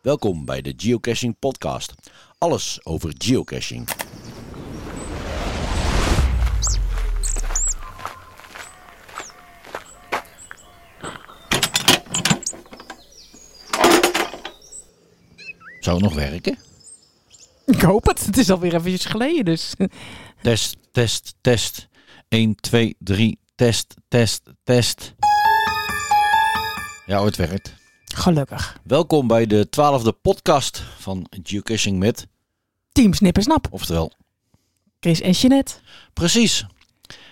Welkom bij de Geocaching Podcast. Alles over geocaching. Zou het nog werken? Ik hoop het. Het is alweer eventjes geleden dus. Test, test, test. 1, 2, 3. Test, test, test. Ja, het werkt. Gelukkig. Welkom bij de twaalfde podcast van Geocaching Met. Team Snippersnap. Oftewel, Chris en Jeanette. precies.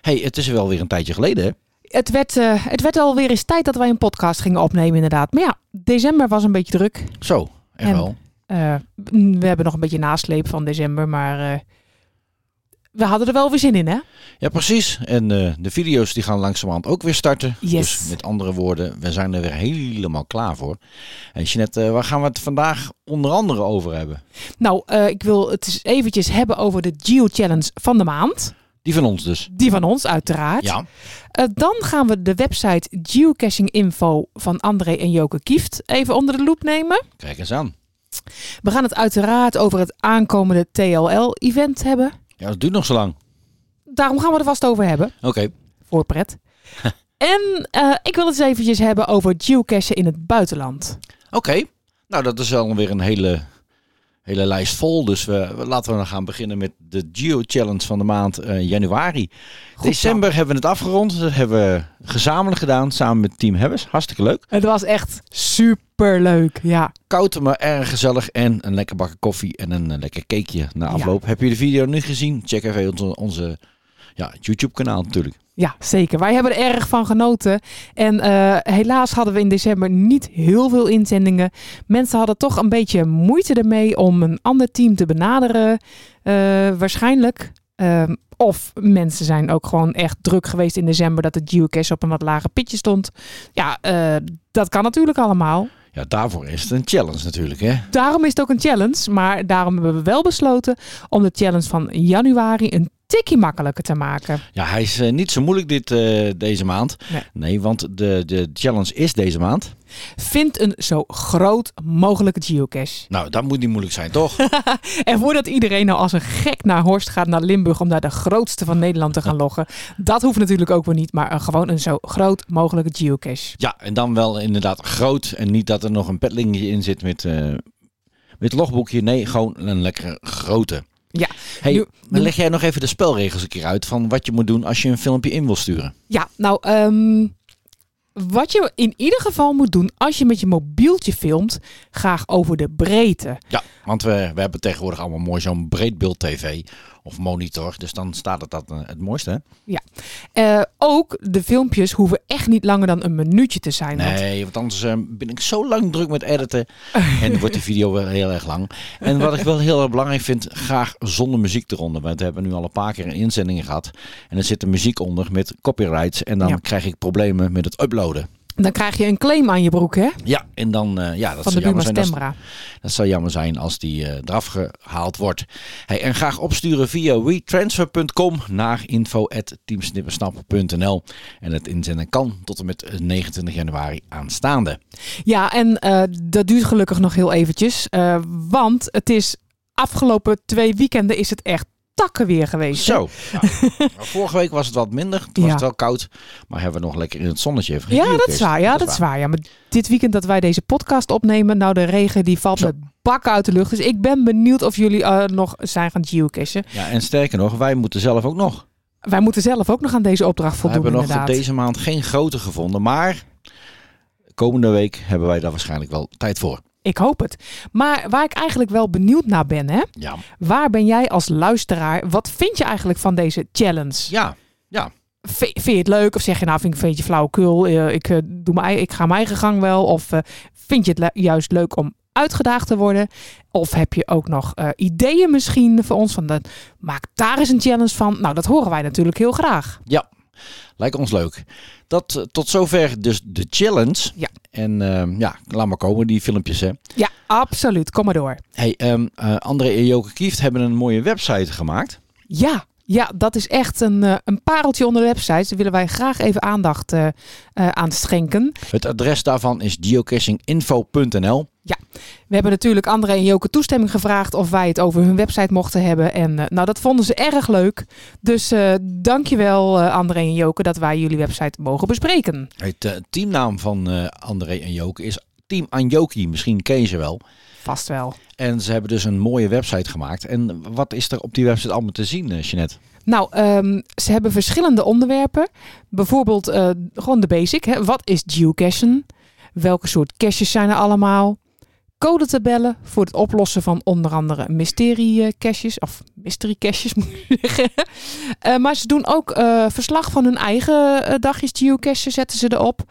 hey, het is wel weer een tijdje geleden, hè? Het werd, eh het werd alweer eens tijd dat wij een podcast gingen opnemen inderdaad. Maar ja, december was een beetje druk. Zo, en En- wel. Eh, we hebben nog een beetje nasleep van december, maar eh, we hadden er wel weer zin in hè? Ja, precies. En eh, de video's die gaan langzamerhand ook weer starten. Yes. Dus met andere woorden, we zijn er weer helemaal klaar voor. En Jeanette, eh, waar gaan we het vandaag onder andere over hebben? Nou, eh, ik wil het eens eventjes hebben over de Geo Challenge van de maand. Die van ons dus. Die van ons uiteraard. Ja, Eh, dan gaan we de website Geocaching Info van André en Joke Kieft even onder de loep nemen. kijk eens aan. We gaan het uiteraard over het aankomende TLL-event hebben. Ja, dat duurt nog zo lang. Daarom gaan we er vast over hebben, Oké. voor pret. en eh, ik wil het eens eventjes hebben over geocachen in het buitenland. Oké, nou dat is alweer een hele, hele lijst vol. Dus we, we- laten we dan gaan beginnen met de Geo Challenge van de maand eh, januari. Goed December hebben we het afgerond. Dat hebben we gezamenlijk gedaan samen met Team Hebbers. Hartstikke leuk. Het was echt superleuk, ja. Koud, maar erg gezellig. En een lekker bakje koffie en een eh, lekker cakeje na afloop. Heb je de video nu gezien? Check even onze, onze ja, YouTube kanaal natuurlijk. Ja, zeker. Wij hebben er erg van genoten. En eh, helaas hadden we in december niet heel veel inzendingen. Mensen hadden toch een beetje moeite ermee om een ander team te benaderen. eh, waarschijnlijk. Ehm, of mensen zijn ook gewoon echt druk geweest in december dat de geocache op een wat lager pitje stond. Ja, eh, dat kan natuurlijk allemaal. Ja, daarvoor is het een challenge natuurlijk hè. Daarom is het ook een challenge. Maar daarom hebben we wel besloten om de challenge van januari een tikje makkelijker te maken. Ja, hij is eh, niet zo moeilijk dit, eh, deze maand. Nee. nee want de, de challenge is deze maand. Vind een zo groot mogelijke geocache. Nou, dat moet niet moeilijk zijn, toch? En voordat iedereen nou als een gek naar Horst gaat, naar Limburg, om daar de grootste van Nederland te gaan loggen. Dat hoeft natuurlijk ook weer niet, maar eh, gewoon een zo groot mogelijke geocache. ja, en dan wel inderdaad groot. En niet dat er nog een petlingje in zit met, eh met logboekje. Nee, gewoon een lekkere grote. Ja, Hey, nu- maar leg jij nog even de spelregels een keer uit van wat je moet doen als je een filmpje in wil sturen. Ja, nou, ehm, wat je in ieder geval moet doen als je met je mobieltje filmt, graag over de breedte. Ja, want we, we hebben tegenwoordig allemaal mooi zo'n breedbeeld tv of monitor. Dus dan staat het dat eh, het mooiste, hè? Eh, ook de filmpjes hoeven echt niet langer dan een minuutje te zijn. want- Nee, want anders eh, ben ik zo lang druk met editen. En dan wordt die video wel heel erg lang. En wat ik wel heel erg belangrijk vind, graag zonder muziek eronder. Want we hebben nu al een paar keer een inzending gehad. En er zit de muziek onder met copyrights. En dan Ja. krijg ik problemen met het uploaden. dan krijg je een claim aan je broek, hè? Ja, en dan, eh, ja, dat Van de zou Buma jammer zijn als, Stemra. dat zou jammer zijn als die eh, eraf gehaald wordt. Hey, en graag opsturen via wetransfer.com naar info.teamsnippersnappen.nl. En het inzenden kan tot en met 29 januari aanstaande. Ja, en eh, dat duurt gelukkig nog heel eventjes. eh, want het is afgelopen twee weekenden is het echt takken weer geweest. hè? Zo. Nou, vorige week was het wat minder. Toen was Ja. het wel koud. Maar hebben we nog lekker in het zonnetje even Ja, dat gegeocached. is waar. Ja, dat is waar. Ja, maar dit weekend dat wij deze podcast opnemen, nou de regen die valt Zo. met bakken uit de lucht. Dus ik ben benieuwd of jullie eh, nog zijn gaan geocachen. Ja, en sterker nog, wij moeten zelf ook nog. Wij moeten zelf ook nog aan deze opdracht we voldoen hebben nog inderdaad. deze maand geen grote gevonden. Maar komende week hebben wij daar waarschijnlijk wel tijd voor. Ik hoop het. Maar waar ik eigenlijk wel benieuwd naar ben, hè? Ja. Waar ben jij als luisteraar? Wat vind je eigenlijk van deze challenge? Ja. V- vind je het leuk? Of zeg je nou, vind ik een beetje flauwekul, eh, ik, eh, doe mijn, ei- ik ga mijn eigen gang wel. Of eh, vind je het le- juist leuk om uitgedaagd te worden? Of heb je ook nog eh, ideeën misschien voor ons? Van de, maak daar eens een challenge van. Nou, dat horen wij natuurlijk heel graag. Lijkt ons leuk. Dat eh, tot zover dus de challenge. Ja. En eh, ja, laat maar komen die filmpjes hè. Ja, absoluut. Kom maar door. Hey, ehm, eh, André en Joke Kieft hebben een mooie website gemaakt. Ja, ja dat is echt een, eh, een pareltje onder de website. Daar willen wij graag even aandacht eh, eh, aan schenken. Het adres daarvan is geocachinginfo.nl. Ja, we hebben natuurlijk André en Joke toestemming gevraagd of wij het over hun website mochten hebben. En eh, nou, dat vonden ze erg leuk. Dus eh dankjewel eh André en Joke dat wij jullie website mogen bespreken. Het eh, teamnaam van eh, André en Joke is Team Anjoki. Misschien ken je ze wel. Vast wel. En ze hebben dus een mooie website gemaakt. En wat is er op die website allemaal te zien, eh, Jeanette? Nou, ehm, ze hebben verschillende onderwerpen. Bijvoorbeeld eh, gewoon de basic. Hè. Wat is geocachen? Welke soort caches zijn er allemaal? Codetabellen voor het oplossen van onder andere mysterie eh, caches. Of mystery caches moet ik zeggen. Eh, maar ze doen ook eh, verslag van hun eigen eh, dagjes geocachen zetten ze erop.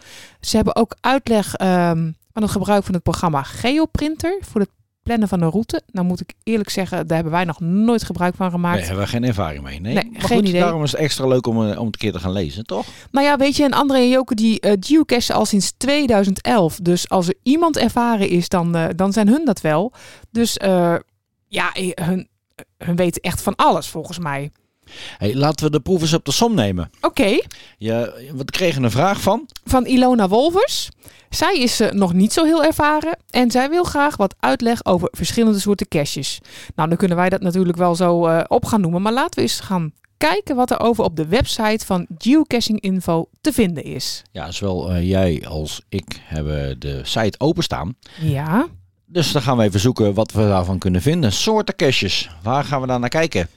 Ze hebben ook uitleg ehm, van het gebruik van het programma Geoprinter. Voor het plannen van een route. Nou moet ik eerlijk zeggen, daar hebben wij nog nooit gebruik van gemaakt. Nee, hebben we geen ervaring mee. Nee, Nee, Maar geen idee. Daarom is het extra leuk om, eh, om het een keer te gaan lezen, toch? Nou ja, weet je, en André en Joke die eh geocachen al sinds 2011. Dus als er iemand ervaren is, dan, eh, dan zijn hun dat wel. Dus eh, ja, eh, hun, hun weten echt van alles volgens mij. Hey, laten we de proef eens op de som nemen. Oké, Ja, we kregen een vraag van. van Ilona Wolvers. Zij is eh, nog niet zo heel ervaren en zij wil graag wat uitleg over verschillende soorten caches. Nou, dan kunnen wij dat natuurlijk wel zo eh, op gaan noemen. Maar laten we eens gaan kijken wat er over op de website van Geocaching Info te vinden is. Ja, zowel eh, jij als ik hebben de site openstaan. Ja. Dus dan gaan we even zoeken wat we daarvan kunnen vinden. Soorten caches. Waar gaan we daar naar kijken?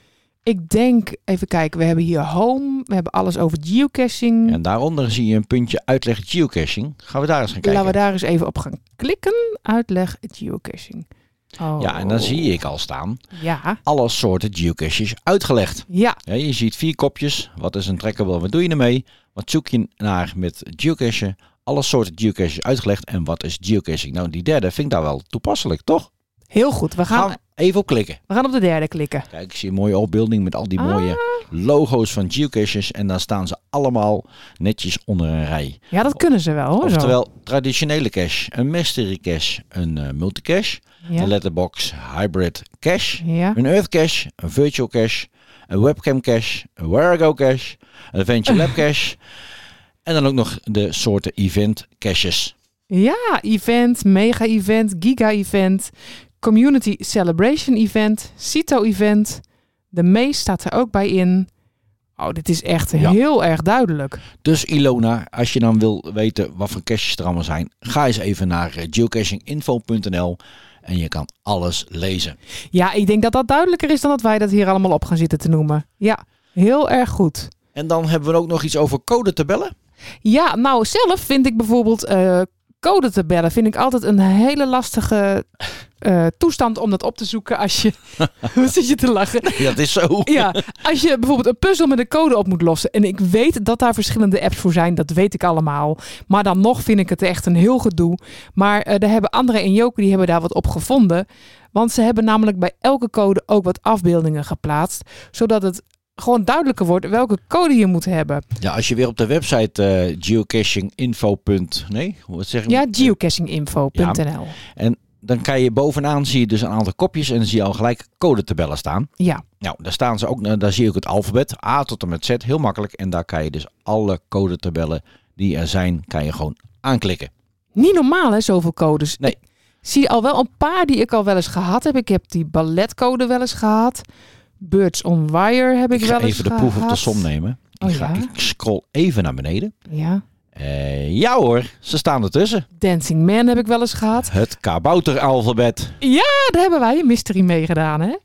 Ik denk, even kijken, we hebben hier home, we hebben alles over geocaching. En daaronder zie je een puntje uitleg geocaching. Gaan we daar eens gaan kijken. Laten we daar eens even op gaan klikken. Uitleg geocaching. Oh. Ja, en dan zie ik al staan. Ja, Alle soorten geocaches uitgelegd. ja, Ja, je ziet vier kopjes. Wat is een trackable? Wat doe je ermee? Wat zoek je naar met geocachen? Alle soorten geocaches uitgelegd. En wat is geocaching? Nou, die derde vind ik daar wel toepasselijk, toch? heel goed. We gaan, Gaan we even op klikken. we gaan op de derde klikken. Ah, Kijk, ik zie een mooie opbeelding met al die mooie logo's van geocaches. En daar staan ze allemaal netjes onder een rij. Ja, dat kunnen ze wel hoor. zo. Oftewel, traditionele cache, een mystery cache, een eh, multicache, ja. een letterbox hybrid cache, ja. een earth cache, een virtual cache, een webcam cache, een Warago cache, een venture lab cache. En dan ook nog de soorten event caches. ja, event, mega event, giga event, community celebration event, CITO event. De meest staat er ook bij in. Oh, dit is echt Ja. heel erg duidelijk. Dus Ilona, als je dan wil weten wat voor caches er allemaal zijn, ga eens even naar eh, geocachinginfo.nl en je kan alles lezen. Ja, ik denk dat dat duidelijker is dan dat wij dat hier allemaal op gaan zitten te noemen. Ja, heel erg goed. En dan hebben we ook nog iets over codetabellen. Ja, nou zelf vind ik bijvoorbeeld eh code te bellen vind ik altijd een hele lastige eh, toestand om dat op te zoeken als je... Wat zit je te lachen? Dat is zo. Ja, als je bijvoorbeeld een puzzel met een code op moet lossen. En ik weet dat daar verschillende apps voor zijn, dat weet ik allemaal. Maar dan nog vind ik het echt een heel gedoe. Maar eh, daar hebben André en Joke, die hebben daar wat op gevonden. Want ze hebben namelijk bij elke code ook wat afbeeldingen geplaatst. Zodat het gewoon duidelijker wordt welke code je moet hebben. Ja, als je weer op de website eh, geocachinginfo. Nee, wat zeg ik? Ja, geocachinginfo.nl. Dan kan je bovenaan zie je dus een aantal kopjes en dan zie je al gelijk codetabellen staan. Ja. Nou, daar staan ze ook. nou, Daar zie je ook het alfabet A tot en met Z, heel makkelijk. En daar kan je dus alle codetabellen die er zijn, kan je gewoon aanklikken. Niet normaal, hè, zoveel codes. Nee. Ik zie al wel een paar die ik al wel eens gehad heb. Ik heb die balletcode wel eens gehad. Birds on Wire heb ik, ga wel eens even de proef op de gehad. som nemen. Ik, Oh, ga, ja? ik scroll even naar beneden. Ja. Eh, ja hoor, ze staan ertussen. Dancing Man heb ik wel eens gehad. Het kabouteralfabet. Ah, daar hebben wij een mystery mee gedaan, hè?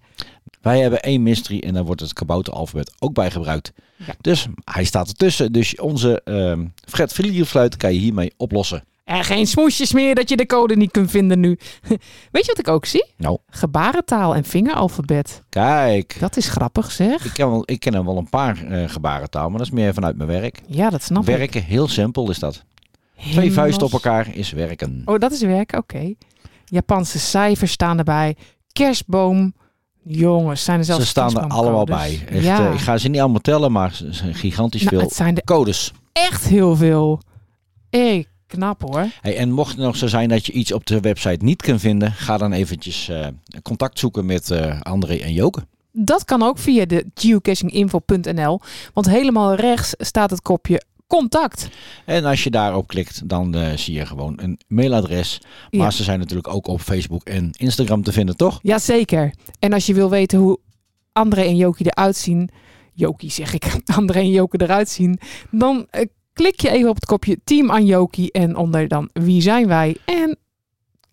Wij hebben één mystery en daar wordt het kabouteralfabet ook bij gebruikt. Ja. Dus hij staat ertussen. Dus onze ehm Fred Vlierfluit kan je hiermee oplossen. En geen smoesjes meer dat je de code niet kunt vinden nu. Weet je wat ik ook zie? Nou. Gebarentaal en vingeralfabet. Kijk, Dat is grappig, zeg. ik ken, wel, ik ken er wel een paar eh gebarentaal, maar dat is meer vanuit mijn werk. Ja, dat snap ik. Werken, heel simpel is dat. Twee Hemels. vuisten op elkaar is werken. Oh, dat is werken, oké. Japanse cijfers staan erbij. Kerstboom. Jongens, zijn er zelfs ze staan er kerstboomcodes. allemaal bij. Echt, ja. eh, ik ga ze niet allemaal tellen, maar ze zijn gigantisch Nou, veel het zijn er codes. echt heel veel. Hé, knap hoor. Hey, en mocht het nog zo zijn dat je iets op de website niet kan vinden, ga dan eventjes eh, contact zoeken met eh, André en Joke. Dat kan ook via de geocachinginfo.nl. Want helemaal rechts staat het kopje contact. En als je daarop klikt, dan eh, zie je gewoon een mailadres. Maar Ja. ze zijn natuurlijk ook op Facebook en Instagram te vinden, toch? Jazeker. En als je wil weten hoe André en Jokie eruit zien, Jokie zeg ik, André en Jokie eruit zien, dan eh, klik je even op het kopje Team aan Jokie en onder dan Wie zijn wij? En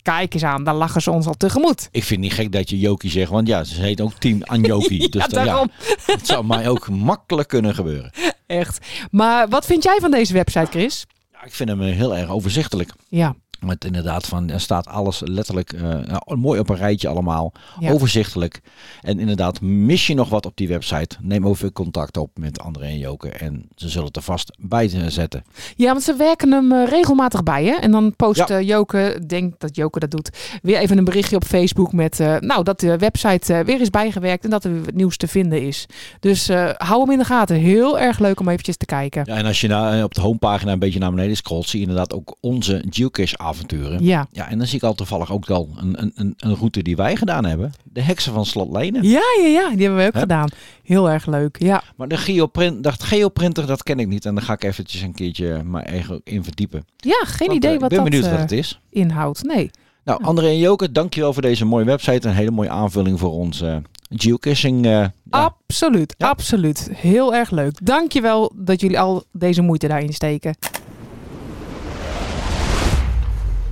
kijk eens aan, daar lachen ze ons al tegemoet. Ik vind het niet gek dat je Jokie zegt, want ja, ze heet ook Team Anjoki. dus ja, dat, daarom. dat zou mij ook makkelijk kunnen gebeuren. Echt. Maar wat vind jij van deze website, Chris? Ja, ik vind hem eh, heel erg overzichtelijk. Ja, Met inderdaad, van, er staat alles letterlijk eh, nou, mooi op een rijtje allemaal. Ja. Overzichtelijk. En inderdaad, mis je nog wat op die website? Neem even contact op met André en Joke. En ze zullen het er vast bij eh, zetten. ja want ze werken hem eh, regelmatig bij, hè? En dan post eh, Joke, denk dat Joke dat doet, weer even een berichtje op Facebook met... eh, nou, dat de website eh, weer is bijgewerkt en dat er weer wat nieuws te vinden is. Dus eh, hou hem in de gaten. Heel erg leuk om eventjes te kijken. Ja, en als je nou, eh, op de homepagina een beetje naar beneden scrolt, zie je inderdaad ook onze geocache-avonturen. Ja. Ja. en dan zie ik al toevallig ook al een, een- een, een route die wij gedaan hebben. De heksen van Slot Lenen. Ja, ja, ja. Die hebben we ook Hè? gedaan. Heel erg leuk. Ja, Maar de geoprint, dat geoprinter, dat ken ik niet. En daar ga ik eventjes een keertje maar eigenlijk in verdiepen. ja geen Want, eh, idee wat Ik ben dat benieuwd wat eh, het is. inhoudt. Nee. Nou, André en Joke, dankjewel voor deze mooie website. Een hele mooie aanvulling voor ons eh, geocaching. eh, ja. Absoluut, Ja. absoluut. Heel erg leuk. Dankjewel dat jullie al deze moeite daarin steken.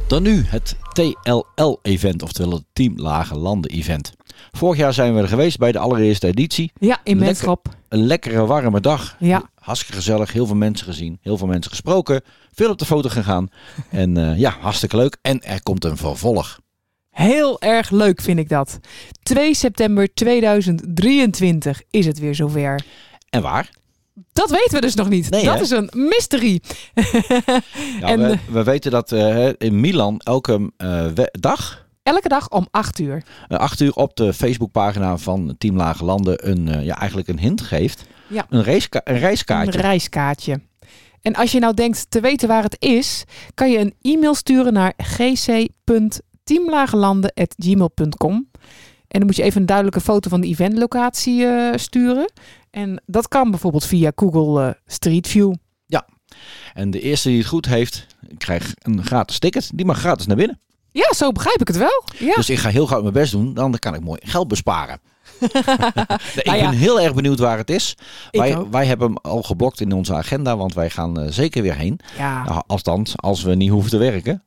Dan nu het TLL-event, oftewel het Team Lage Landen event. Vorig jaar zijn we er geweest bij de allereerste editie. Ja, in Lekker. Menschap. Een lekkere warme dag. Ja. Hartstikke gezellig, heel veel mensen gezien, heel veel mensen gesproken, veel op de foto gegaan. En eh, ja, hartstikke leuk. En er komt een vervolg. Heel erg leuk vind ik dat. 2 september 2023 is het weer zover. En waar? Dat weten we dus nog niet. Nee, dat hè? is een mystery. Ja, En, we, eh, we weten dat eh, in Milan elke eh, we- dag, Elke dag om 8 uur. eh, acht uur op de Facebookpagina van Team Lage Landen een, eh, ja, eigenlijk een hint geeft. Ja. Een, raceka- een Een reiskaartje. reiskaartje. En als je nou denkt te weten waar het is, kan je een e-mail sturen naar gc.teamlagelanden.gmail.com. En dan moet je even een duidelijke foto van de eventlocatie eh, sturen. En dat kan bijvoorbeeld via Google eh, Street View. en de eerste die het goed heeft, krijgt een gratis ticket. Die mag gratis naar binnen. Ja, zo begrijp ik het wel. Ja. Dus ik ga heel gauw mijn best doen, dan kan ik mooi geld besparen. ik Nou ja. ben heel erg benieuwd waar het is. Ik Wij, ook. wij hebben hem al geblokt in onze agenda, want wij gaan eh, zeker weer heen. ja, Nou, althans, als we niet hoeven te werken.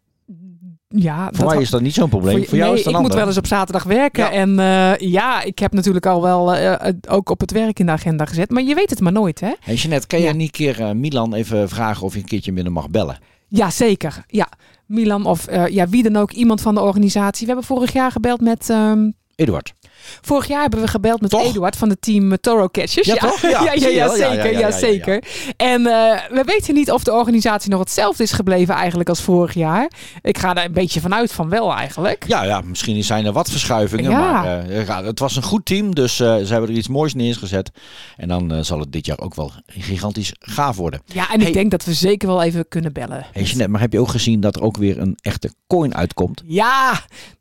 ja Voor mij is dat niet zo'n probleem. Voor, je- jou nee, is het ik een moet ander. wel eens op zaterdag werken. Ja. En eh, ja, ik heb natuurlijk al wel eh, eh, ook op het werk in de agenda gezet. Maar je weet het maar nooit, hè? Hey Jeanette, kan Ja. jij niet een keer eh, Milan even vragen of je een keertje binnen mag bellen? Ja, zeker. Ja. Milan of eh, ja, wie dan ook, iemand van de organisatie. We hebben vorig jaar gebeld met. ehm, Eduard. vorig jaar hebben we gebeld met Toch? Eduard van het team eh, Toro Catchers. Ja, toch? Ja, ja, ja, zie je ja, wel. Ja, ja, zeker. ja, Ja, ja, ja. zeker. En eh, we weten niet of de organisatie nog hetzelfde is gebleven eigenlijk als vorig jaar. Ik ga daar een beetje vanuit van wel eigenlijk. Ja, ja, misschien zijn er wat verschuivingen. Ja. Maar eh, ja, het was een goed team, dus eh, ze hebben er iets moois neergezet. En dan eh, zal het dit jaar ook wel gigantisch gaaf worden. Ja, en ik Hey. denk dat we zeker wel even kunnen bellen. Hey Jeanette, maar heb je ook gezien dat er ook weer een echte coin uitkomt? Ja,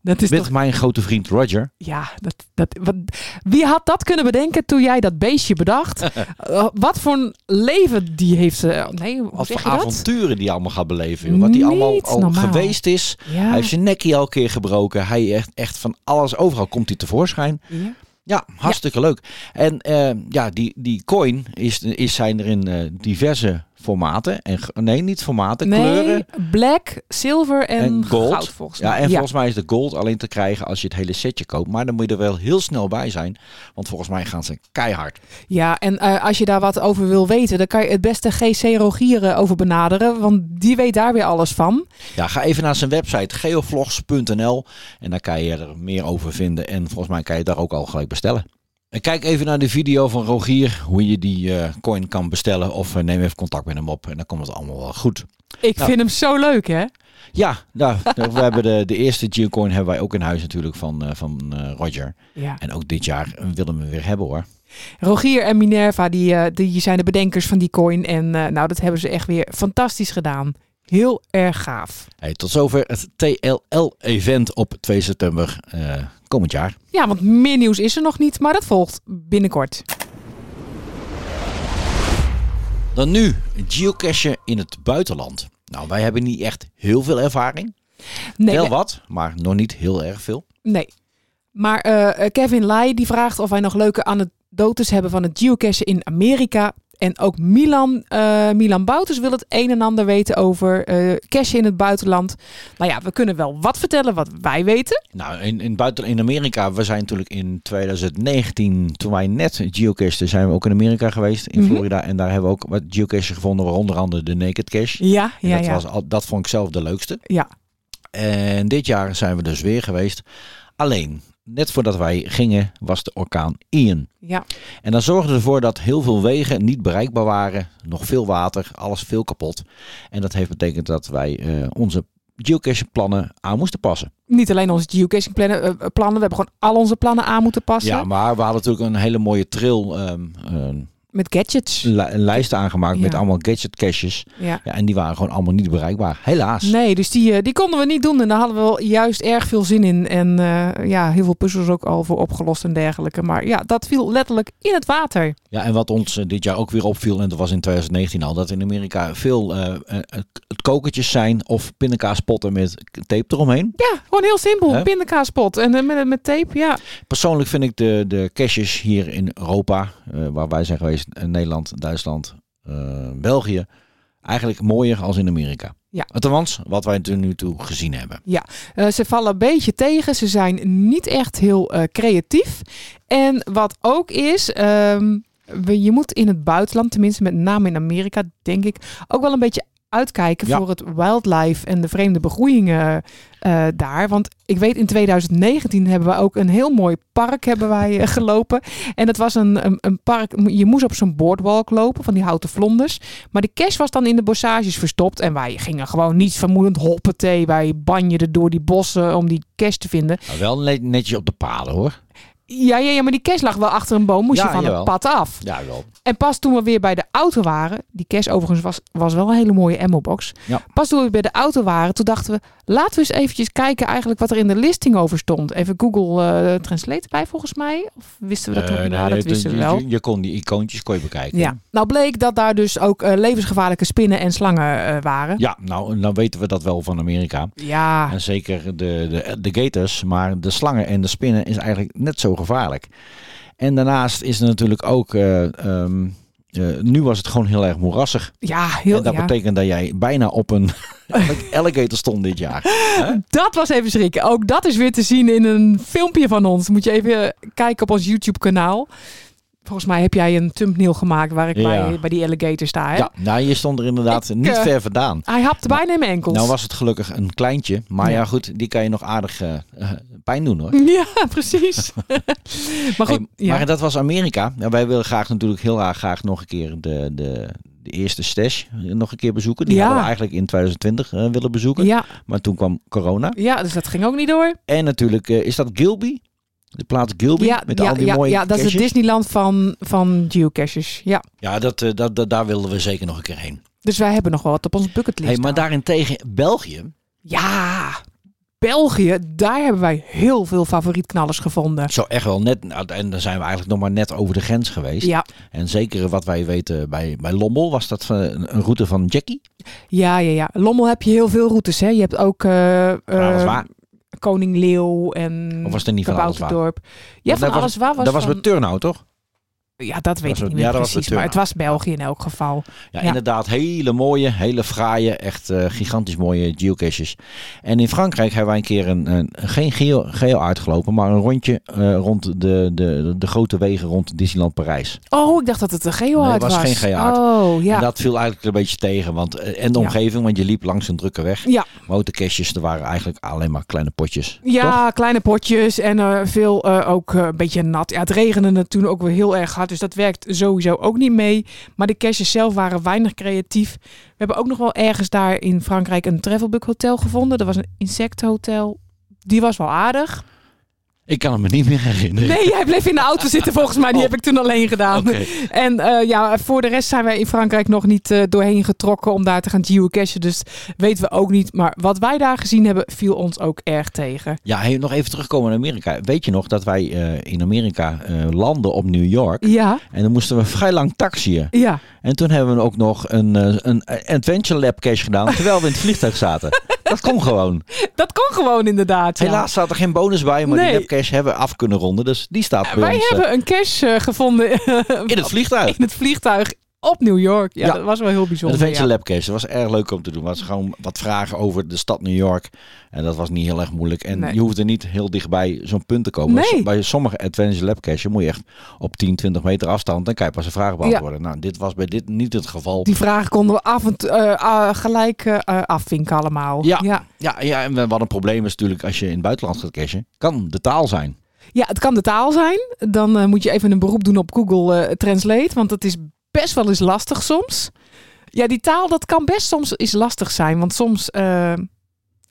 dat is Met toch... mijn grote vriend Roger. Ja, dat, dat, wat, wie had dat kunnen bedenken toen jij dat beestje bedacht? Eh, wat voor een leven die heeft... eh, nee, hoe Wat zeg voor je dat? avonturen die allemaal gaat beleven. joh. Wat die allemaal Niet al normaal. geweest is. Ja. Hij heeft zijn nekkie al een keer gebroken. Hij echt, echt van alles. Overal komt hij tevoorschijn. Ja. Ja, hartstikke leuk. En eh, ja, die, die coin is, is, zijn er in eh, diverse formaten. En, ge- nee, niet formaten, nee, kleuren. black, zilver en, En gold. goud volgens mij. Ja, en volgens mij is de gold alleen te krijgen als je het hele setje koopt. Maar dan moet je er wel heel snel bij zijn. Want volgens mij gaan ze keihard. Ja, en eh, als je daar wat over wil weten, dan kan je het beste GC Rogier eh, over benaderen. Want die weet daar weer alles van. Ja, ga even naar zijn website geovlogs.nl. En daar kan je er meer over vinden. En volgens mij kan je het daar ook al gelijk bestellen. En kijk even naar de video van Rogier. Hoe je die eh, coin kan bestellen. Of eh, neem even contact met hem op. En dan komt het allemaal wel goed. Ik Nou. vind hem zo leuk, hè? Ja, nou, we hebben de, de eerste Geocoin hebben wij ook in huis natuurlijk van, eh, van eh, Roger. Ja. En ook dit jaar willen we hem weer hebben hoor. Rogier en Minerva, die, eh, die zijn de bedenkers van die coin. En eh, nou, dat hebben ze echt weer fantastisch gedaan. Heel erg gaaf. Hey, tot zover het TLL-event op 2 september eh, komend jaar. Ja, want meer nieuws is er nog niet, maar dat volgt binnenkort. Dan nu, geocachen in het buitenland. Nou, wij hebben niet echt heel veel ervaring. Nee, Wel nee, wat, maar nog niet heel erg veel. nee. Maar eh, Kevin Lai die vraagt of wij nog leuke anekdotes hebben van het geocachen in Amerika. En ook Milan, eh, Milan Bouters wil het een en ander weten over eh cachen in het buitenland. Nou ja, we kunnen wel wat vertellen wat wij weten. Nou, in, in, buiten, in Amerika, we zijn natuurlijk in 2019, toen wij net geocachen, zijn we ook in Amerika geweest, in Mhm. Florida. En daar hebben we ook wat geocaches gevonden, waaronder andere de Naked Cache. Ja, En ja, dat, ja. was al, dat vond ik zelf de leukste. Ja. En dit jaar zijn we dus weer geweest. Alleen, net voordat wij gingen, was de orkaan Ian. ja. En dat zorgde ervoor dat heel veel wegen niet bereikbaar waren. Nog veel water, alles veel kapot. En dat heeft betekend dat wij eh, onze geocaching plannen aan moesten passen. Niet alleen onze geocaching plannen, eh, plannen, we hebben gewoon al onze plannen aan moeten passen. Ja, maar we hadden natuurlijk een hele mooie trail ehm, een Met gadgets. li- een lijst aangemaakt met Ja. allemaal gadget caches. Ja. Ja, en die waren gewoon allemaal niet bereikbaar. Helaas. Nee, dus die, eh, die konden we niet doen. En daar hadden we wel juist erg veel zin in. En eh, ja, heel veel puzzels ook al voor opgelost en dergelijke. Maar ja, dat viel letterlijk in het water. Ja, en wat ons eh, dit jaar ook weer opviel, en dat was in 2019 al, dat in Amerika veel eh eh, k- kokertjes zijn of pindakaaspotten met k- tape eromheen. Ja, gewoon heel simpel. Hè? Pindakaaspot en eh, met, met tape, ja. Persoonlijk vind ik de, de caches hier in Europa, eh, waar wij zijn geweest, in Nederland, Duitsland, eh, België, eigenlijk mooier als in Amerika. Ja. Althans, wat wij tot nu toe gezien hebben. Eh, ze vallen een beetje tegen. Ze zijn niet echt heel eh, creatief. En wat ook is, ehm, we- je moet in het buitenland, tenminste met name in Amerika, denk ik, ook wel een beetje uitkijken Ja. voor het wildlife en de vreemde begroeiingen eh, daar. Want ik weet, in 2019 hebben we ook een heel mooi park hebben wij, eh, gelopen. En het was een, een, een park, je moest op zo'n boardwalk lopen van die houten vlonders. Maar de cash was dan in de bossages verstopt. En wij gingen gewoon niets vermoedend hoppen thee. Wij banjerden door die bossen om die cash te vinden. Maar wel net- netjes op de paden hoor. Ja, ja, ja maar die cash lag wel achter een boom. Moest Ja, je van jawel. het pad af. Ja, wel. En pas toen we weer bij de auto waren. Die cash overigens was, was wel een hele mooie ammo-box. Ja. Pas toen we bij de auto waren. Toen dachten we, laten we eens eventjes kijken eigenlijk wat er in de listing over stond. Even Google eh, Translate bij volgens mij. Of wisten we dat Eh, toen? nee, ja, nee, dat je- wisten we je- wel. Je, je kon die icoontjes kon je bekijken. Ja. Nou bleek dat daar dus ook eh, levensgevaarlijke spinnen en slangen eh, waren. Ja, nou, dan weten we dat wel van Amerika. Ja. En zeker de, de, de gators, maar de slangen en de spinnen is eigenlijk net zo gevaarlijk. En daarnaast is er natuurlijk ook, eh, ehm, eh, nu was het gewoon heel erg moerassig. Ja, heel en dat ja. betekent dat jij bijna op een alligator stond dit jaar. Dat was even schrikken. Ook dat is weer te zien in een filmpje van ons. Moet je even eh, kijken op ons YouTube-kanaal. Volgens mij heb jij een thumbnail gemaakt waar ik Ja. bij, bij die alligator sta. Hè? Ja, nou je stond er inderdaad Ik, niet eh, ver vandaan. Hij hapte bijna in mijn enkels. Nou was het gelukkig een kleintje, maar ja, Ja. goed, die kan je nog aardig eh, eh, pijn doen hoor. Ja, precies. maar goed, Hey, ja. Maar dat was Amerika. Ja, wij willen graag natuurlijk heel erg graag nog een keer de, de, de eerste stash nog een keer bezoeken. Die Ja. hadden we eigenlijk in 2020 eh, willen bezoeken. ja, Maar toen kwam corona. ja, dus dat ging ook niet door. En natuurlijk, eh, is dat Gilby? De plaats Gilby Ja, met ja, al die ja, mooie ja, dat is het caches? Disneyland van, van geocaches. Ja. Ja, dat, eh, dat, dat, daar wilden we zeker nog een keer heen. Dus wij hebben nog wel wat op ons bucketlist. Hey, maar staan. daarentegen België. Ja, België, daar hebben wij heel veel favorietknallers gevonden. Zo echt wel net, nou, en dan zijn we eigenlijk nog maar net over de grens geweest. Ja, En zeker wat wij weten bij, bij Lommel was dat eh, een een route van Jackie. ja, ja, ja. Lommel heb je heel veel routes, hè. Je hebt ook eh, Ja, dat is eh, waar. Koning Leeuw en Of was het niet van Alles Waar? Kabouterdorp. Ja, Want van dat was- Alles Waar was dat was van- weer Turnhout, toch? Ja, dat weet was ik het- niet meer ja, dat was precies, de maar Turner. het was België in elk geval. Ja, Ja. inderdaad. Hele mooie, hele fraaie, echt eh, gigantisch mooie geocaches. En in Frankrijk hebben wij een keer een, een- geen geo, geo uitgelopen, maar een rondje eh, rond de, de, de grote wegen rond Disneyland Parijs. Oh, ik dacht dat het een geohard Nee, het was geen geohard. Oh, ja. En dat viel eigenlijk een beetje tegen. Want, eh, en de Ja. omgeving, want je liep langs een drukke weg. Ja. Maar ook de caches, er waren eigenlijk alleen maar kleine potjes. Toch? Ja, kleine potjes en eh, veel eh, ook eh, een beetje nat. Ja, het regende het toen ook weer heel erg hard, dus dat werkt sowieso ook niet mee. Maar de caches zelf waren weinig creatief. We hebben ook nog wel ergens daar in Frankrijk een travelbug hotel gevonden. Dat was een insecthotel. Die was wel aardig. Ik Ik kan het me niet meer herinneren. Nee, jij bleef in de auto zitten volgens mij. Die heb ik toen alleen gedaan. Oh. Oké. En eh, ja, voor de rest zijn wij in Frankrijk nog niet eh, doorheen getrokken om daar te gaan geocachen. Dus weten we ook niet. Maar wat wij daar gezien hebben, viel ons ook erg tegen. Ja, hey, nog even terugkomen naar Amerika. Weet je nog dat wij eh, in Amerika eh, landen op New York? Ja, En dan moesten we vrij lang taxiën. ja. En toen hebben we ook nog een, eh, een Adventure Lab cache gedaan terwijl we in het vliegtuig zaten. Dat kon gewoon. Dat kon gewoon inderdaad. ja. Helaas staat er geen bonus bij, maar Nee. die lab cache hebben we af kunnen ronden. Dus die staat bij Wij ons eh, hebben een cache eh, gevonden in het vliegtuig. in het vliegtuig op New York. Ja, Ja. dat was wel heel Een bijzonder. Adventure ja. Lab cache. Dat was erg leuk om te doen. Was gewoon wat vragen over de stad New York. En dat was niet heel erg moeilijk. En Nee. je hoefde niet heel dichtbij zo'n punt te komen. Nee. Dus Bij sommige Adventure Lab cache moet je echt op 10, 20 meter afstand. Dan kan je pas een vraag beantwoorden. Nou, dit was bij dit niet het geval. Die vragen konden we af en toe, eh, ah, gelijk eh, eh, afvinken allemaal. Ja. ja. Ja, ja, en wat een probleem is natuurlijk als je in het buitenland gaat cachen. Kan de taal zijn. Ja, het kan de taal zijn. Dan eh, moet je even een beroep doen op Google eh, Translate, want dat is best wel eens lastig soms. Ja, die taal, dat kan best soms eens lastig zijn, want soms eh,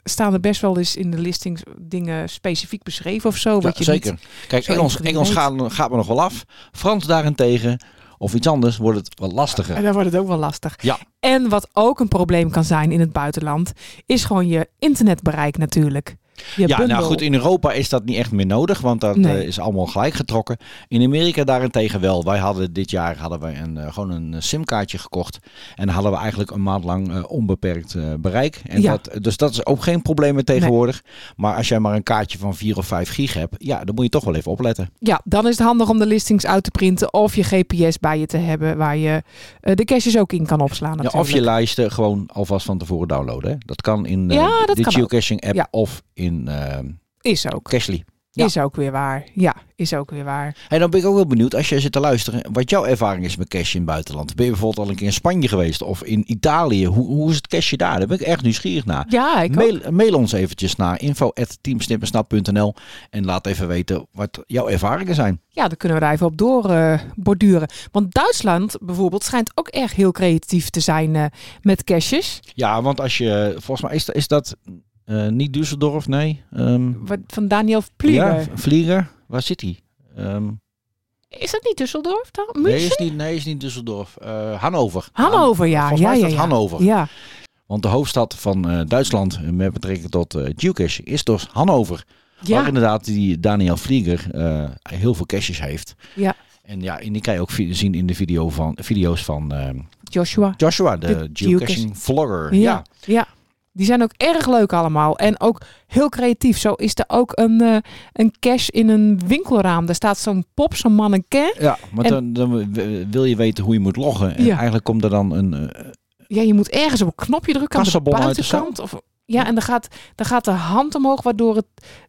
staan er best wel eens in de listings dingen specifiek beschreven of zo. wat Ja, je zeker. niet- Kijk, zo Engels, even niet Engels weet. gaat, gaat me nog wel af. Frans daarentegen of iets anders wordt het wat lastiger. en dan wordt het ook wel lastig. Ja. En wat ook een probleem kan zijn in het buitenland, is gewoon je internetbereik natuurlijk. Je Ja, nou bundel. goed, in Europa is dat niet echt meer nodig, want dat Nee. eh, is allemaal gelijk getrokken. In Amerika daarentegen wel. Wij hadden dit jaar hadden wij een, eh, gewoon een eh, simkaartje gekocht en hadden we eigenlijk een maand lang eh, onbeperkt eh, bereik. En Ja. dat, dus dat is ook geen probleem meer tegenwoordig. Maar als jij maar een kaartje van 4 of 5 gig hebt, ja, dan moet je toch wel even opletten. Ja, dan is het handig om de listings uit te printen of je GPS bij je te hebben waar je eh, de caches ook in kan opslaan. Ja, Natuurlijk. of je lijsten gewoon alvast van tevoren downloaden. hè. Dat kan in eh, Ja, dat de kan ook. geocaching app Ja. of in eh, Is ook. Cashly. Ja. Is ook weer waar. Ja, is ook weer waar. En dan ben ik ook wel benieuwd, als jij zit te luisteren, wat jouw ervaring is met cash in het buitenland. Ben je bijvoorbeeld al een keer in Spanje geweest of in Italië? Hoe, hoe is het cashje daar? Daar ben ik echt nieuwsgierig naar. Ja, ik ook. Mail, mail ons eventjes naar info.teamsnippersnap.nl en laat even weten wat jouw ervaringen zijn. Ja, dan kunnen we daar even op door eh, borduren. Want Duitsland bijvoorbeeld schijnt ook echt heel creatief te zijn eh, met caches. Ja, want als je, volgens mij is, dat- is dat eh, niet Düsseldorf, nee. ehm, Wat, van Daniel Vlieger. Ja, Vlieger. Waar zit hij? Ehm, Is dat niet Düsseldorf dan? nee, München? is niet, nee, is niet Düsseldorf. Eh Hannover. Hannover, ja. Volgens ja, mij is ja, dat ja. Hannover. Ja, Want de hoofdstad van eh, Duitsland eh, met betrekking tot eh geocaching is dus Hannover. Waar ja. inderdaad die Daniel Vlieger eh, heel veel caches heeft. Ja. En ja, en die kan je ook vi- zien in de video van, video's van eh, Joshua. Joshua, de, De geocaching. geocaching vlogger. Ja, ja. Die zijn ook erg leuk allemaal. En ook heel creatief. Zo is er ook een, eh een cache in een winkelraam. Daar staat zo'n pop, zo'n mannequin. Ja, maar En- dan, dan w- wil je weten hoe je moet loggen. En Ja. eigenlijk komt er dan een... eh, Ja, je moet ergens op een knopje drukken aan de Kassabon uit de buitenkant. Of, ja, en dan gaat, dan gaat de hand omhoog, waardoor het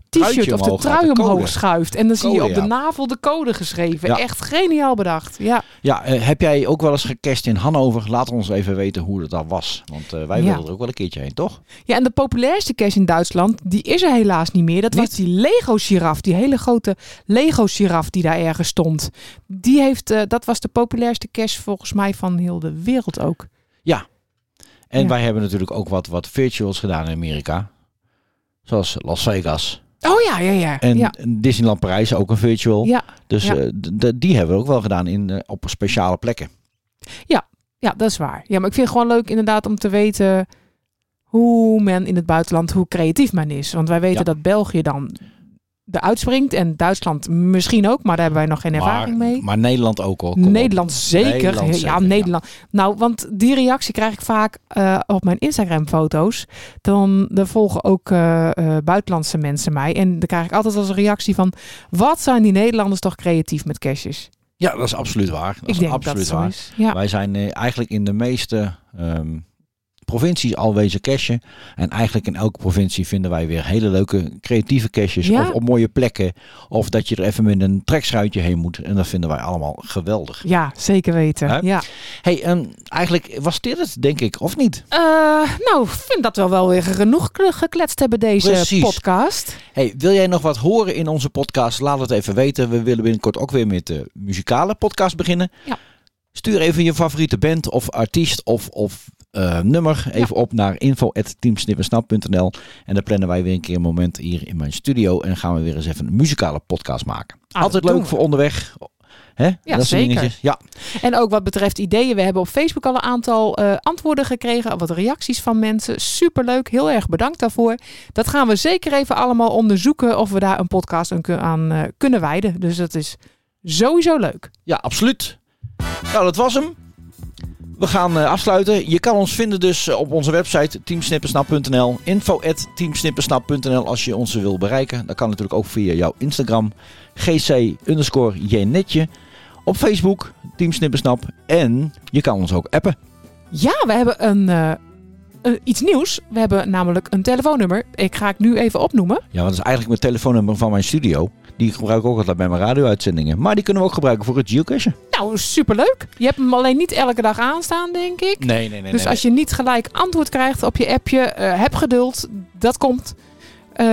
t-shirt Truitje of de omhoog gaat, trui de code. omhoog schuift. En dan zie je Code, op de ja. navel de code geschreven. Ja. Echt geniaal bedacht. Ja, ja, eh, heb jij ook wel eens gecached in Hannover? Laat ons even weten hoe dat dan was. Want eh, wij Ja. wilden er ook wel een keertje heen, toch? ja en de populairste cache in Duitsland, die is er helaas niet meer. Dat was Niet? die Lego-giraf, die hele grote Lego-giraf die daar ergens stond. Die heeft, eh, dat was de populairste cache volgens mij van heel de wereld ook. En Ja. wij hebben natuurlijk ook wat, wat virtuals gedaan in Amerika. Zoals Las Vegas. Oh ja, ja, ja. En ja. Disneyland Parijs ook een virtual. Ja, dus ja. eh, d- d- die hebben we ook wel gedaan in, eh, op speciale plekken. Ja, dat is waar. Ja, maar ik vind het gewoon leuk inderdaad om te weten hoe men in het buitenland, hoe creatief men is. Want wij weten Ja. dat België dan eruit springt en Duitsland misschien ook, maar daar hebben wij nog geen ervaring maar, mee. maar Nederland ook hoor. Kom op. Nederland zeker. Nederland ja, zeker, Nederland. Nou, want die reactie krijg ik vaak eh, op mijn Instagram-foto's. Dan dan volgen ook eh, eh, buitenlandse mensen mij. En dan krijg ik altijd als een reactie van... Wat zijn die Nederlanders toch creatief met cashes? Ja, dat is absoluut waar. Dat Ik is denk dat absoluut het zo waar. is. Ja. Wij zijn eh, eigenlijk in de meeste ehm, provincies al wezen cachen. En eigenlijk in elke provincie vinden wij weer hele leuke creatieve caches. Ja. Of op mooie plekken. Of dat je er even met een trekschuitje heen moet. En dat vinden wij allemaal geweldig. ja, zeker weten. Hè? Ja. hey, ehm, eigenlijk was dit het denk ik, of niet? Eh, nou, ik vind dat we wel weer genoeg k- gekletst hebben deze Precies. podcast. Hey, wil jij nog wat horen in onze podcast? Laat het even weten. We willen binnenkort ook weer met de muzikale podcast beginnen. Ja. Stuur even je favoriete band of artiest of, of eh, nummer even op naar info.teamsnippersnap.nl. En dan plannen wij weer een keer een moment hier in mijn studio. En dan gaan we weer eens even een muzikale podcast maken. Ah, dat Altijd doen leuk we. voor onderweg. hè? soort zeker. dingetjes. Ja, En ook wat betreft ideeën, we hebben op Facebook al een aantal eh, antwoorden gekregen, wat reacties van mensen. Superleuk, heel erg bedankt daarvoor. Dat gaan we zeker even allemaal onderzoeken of we daar een podcast aan kun- aan eh, kunnen wijden. Dus dat is sowieso leuk. Ja, absoluut. Nou, dat was hem. We gaan eh, afsluiten. Je kan ons vinden dus eh, op onze website teamsnippersnap.nl. Info at teamsnippersnap.nl als je ons wil bereiken. Dat kan natuurlijk ook via jouw Instagram. GC underscore jnetje. Op Facebook teamsnippersnap. En je kan ons ook appen. Ja, we hebben een, eh, eh, iets nieuws. We hebben namelijk een telefoonnummer. Ik ga het nu even opnoemen. Ja, want dat is eigenlijk mijn telefoonnummer van mijn studio. Die gebruik ik ook altijd bij mijn radio-uitzendingen. Maar die kunnen we ook gebruiken voor het geocachen. Nou, superleuk. Je hebt hem alleen niet elke dag aanstaan, denk ik. Nee, nee, nee. dus als je niet gelijk antwoord krijgt op je appje, eh, heb geduld. Dat komt. Eh,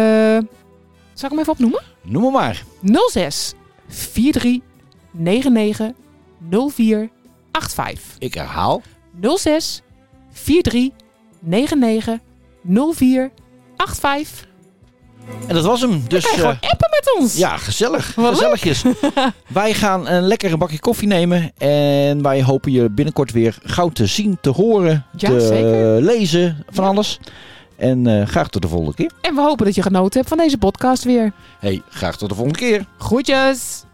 zal ik hem even opnoemen? Noem maar maar. 06 43 99 04 85. Ik herhaal. 06 43 99 04 85. En dat was hem. Dus... Kan je eh, gewoon appen met ons? Ja, gezellig. Wat leuk. Gezelligjes. wij gaan een lekkere bakje koffie nemen. En wij hopen je binnenkort weer gauw te zien, te horen, Ja, te zeker. lezen van alles. En eh, graag tot de volgende keer. En we hopen dat je genoten hebt van deze podcast weer. Hey, graag tot de volgende keer. Groetjes!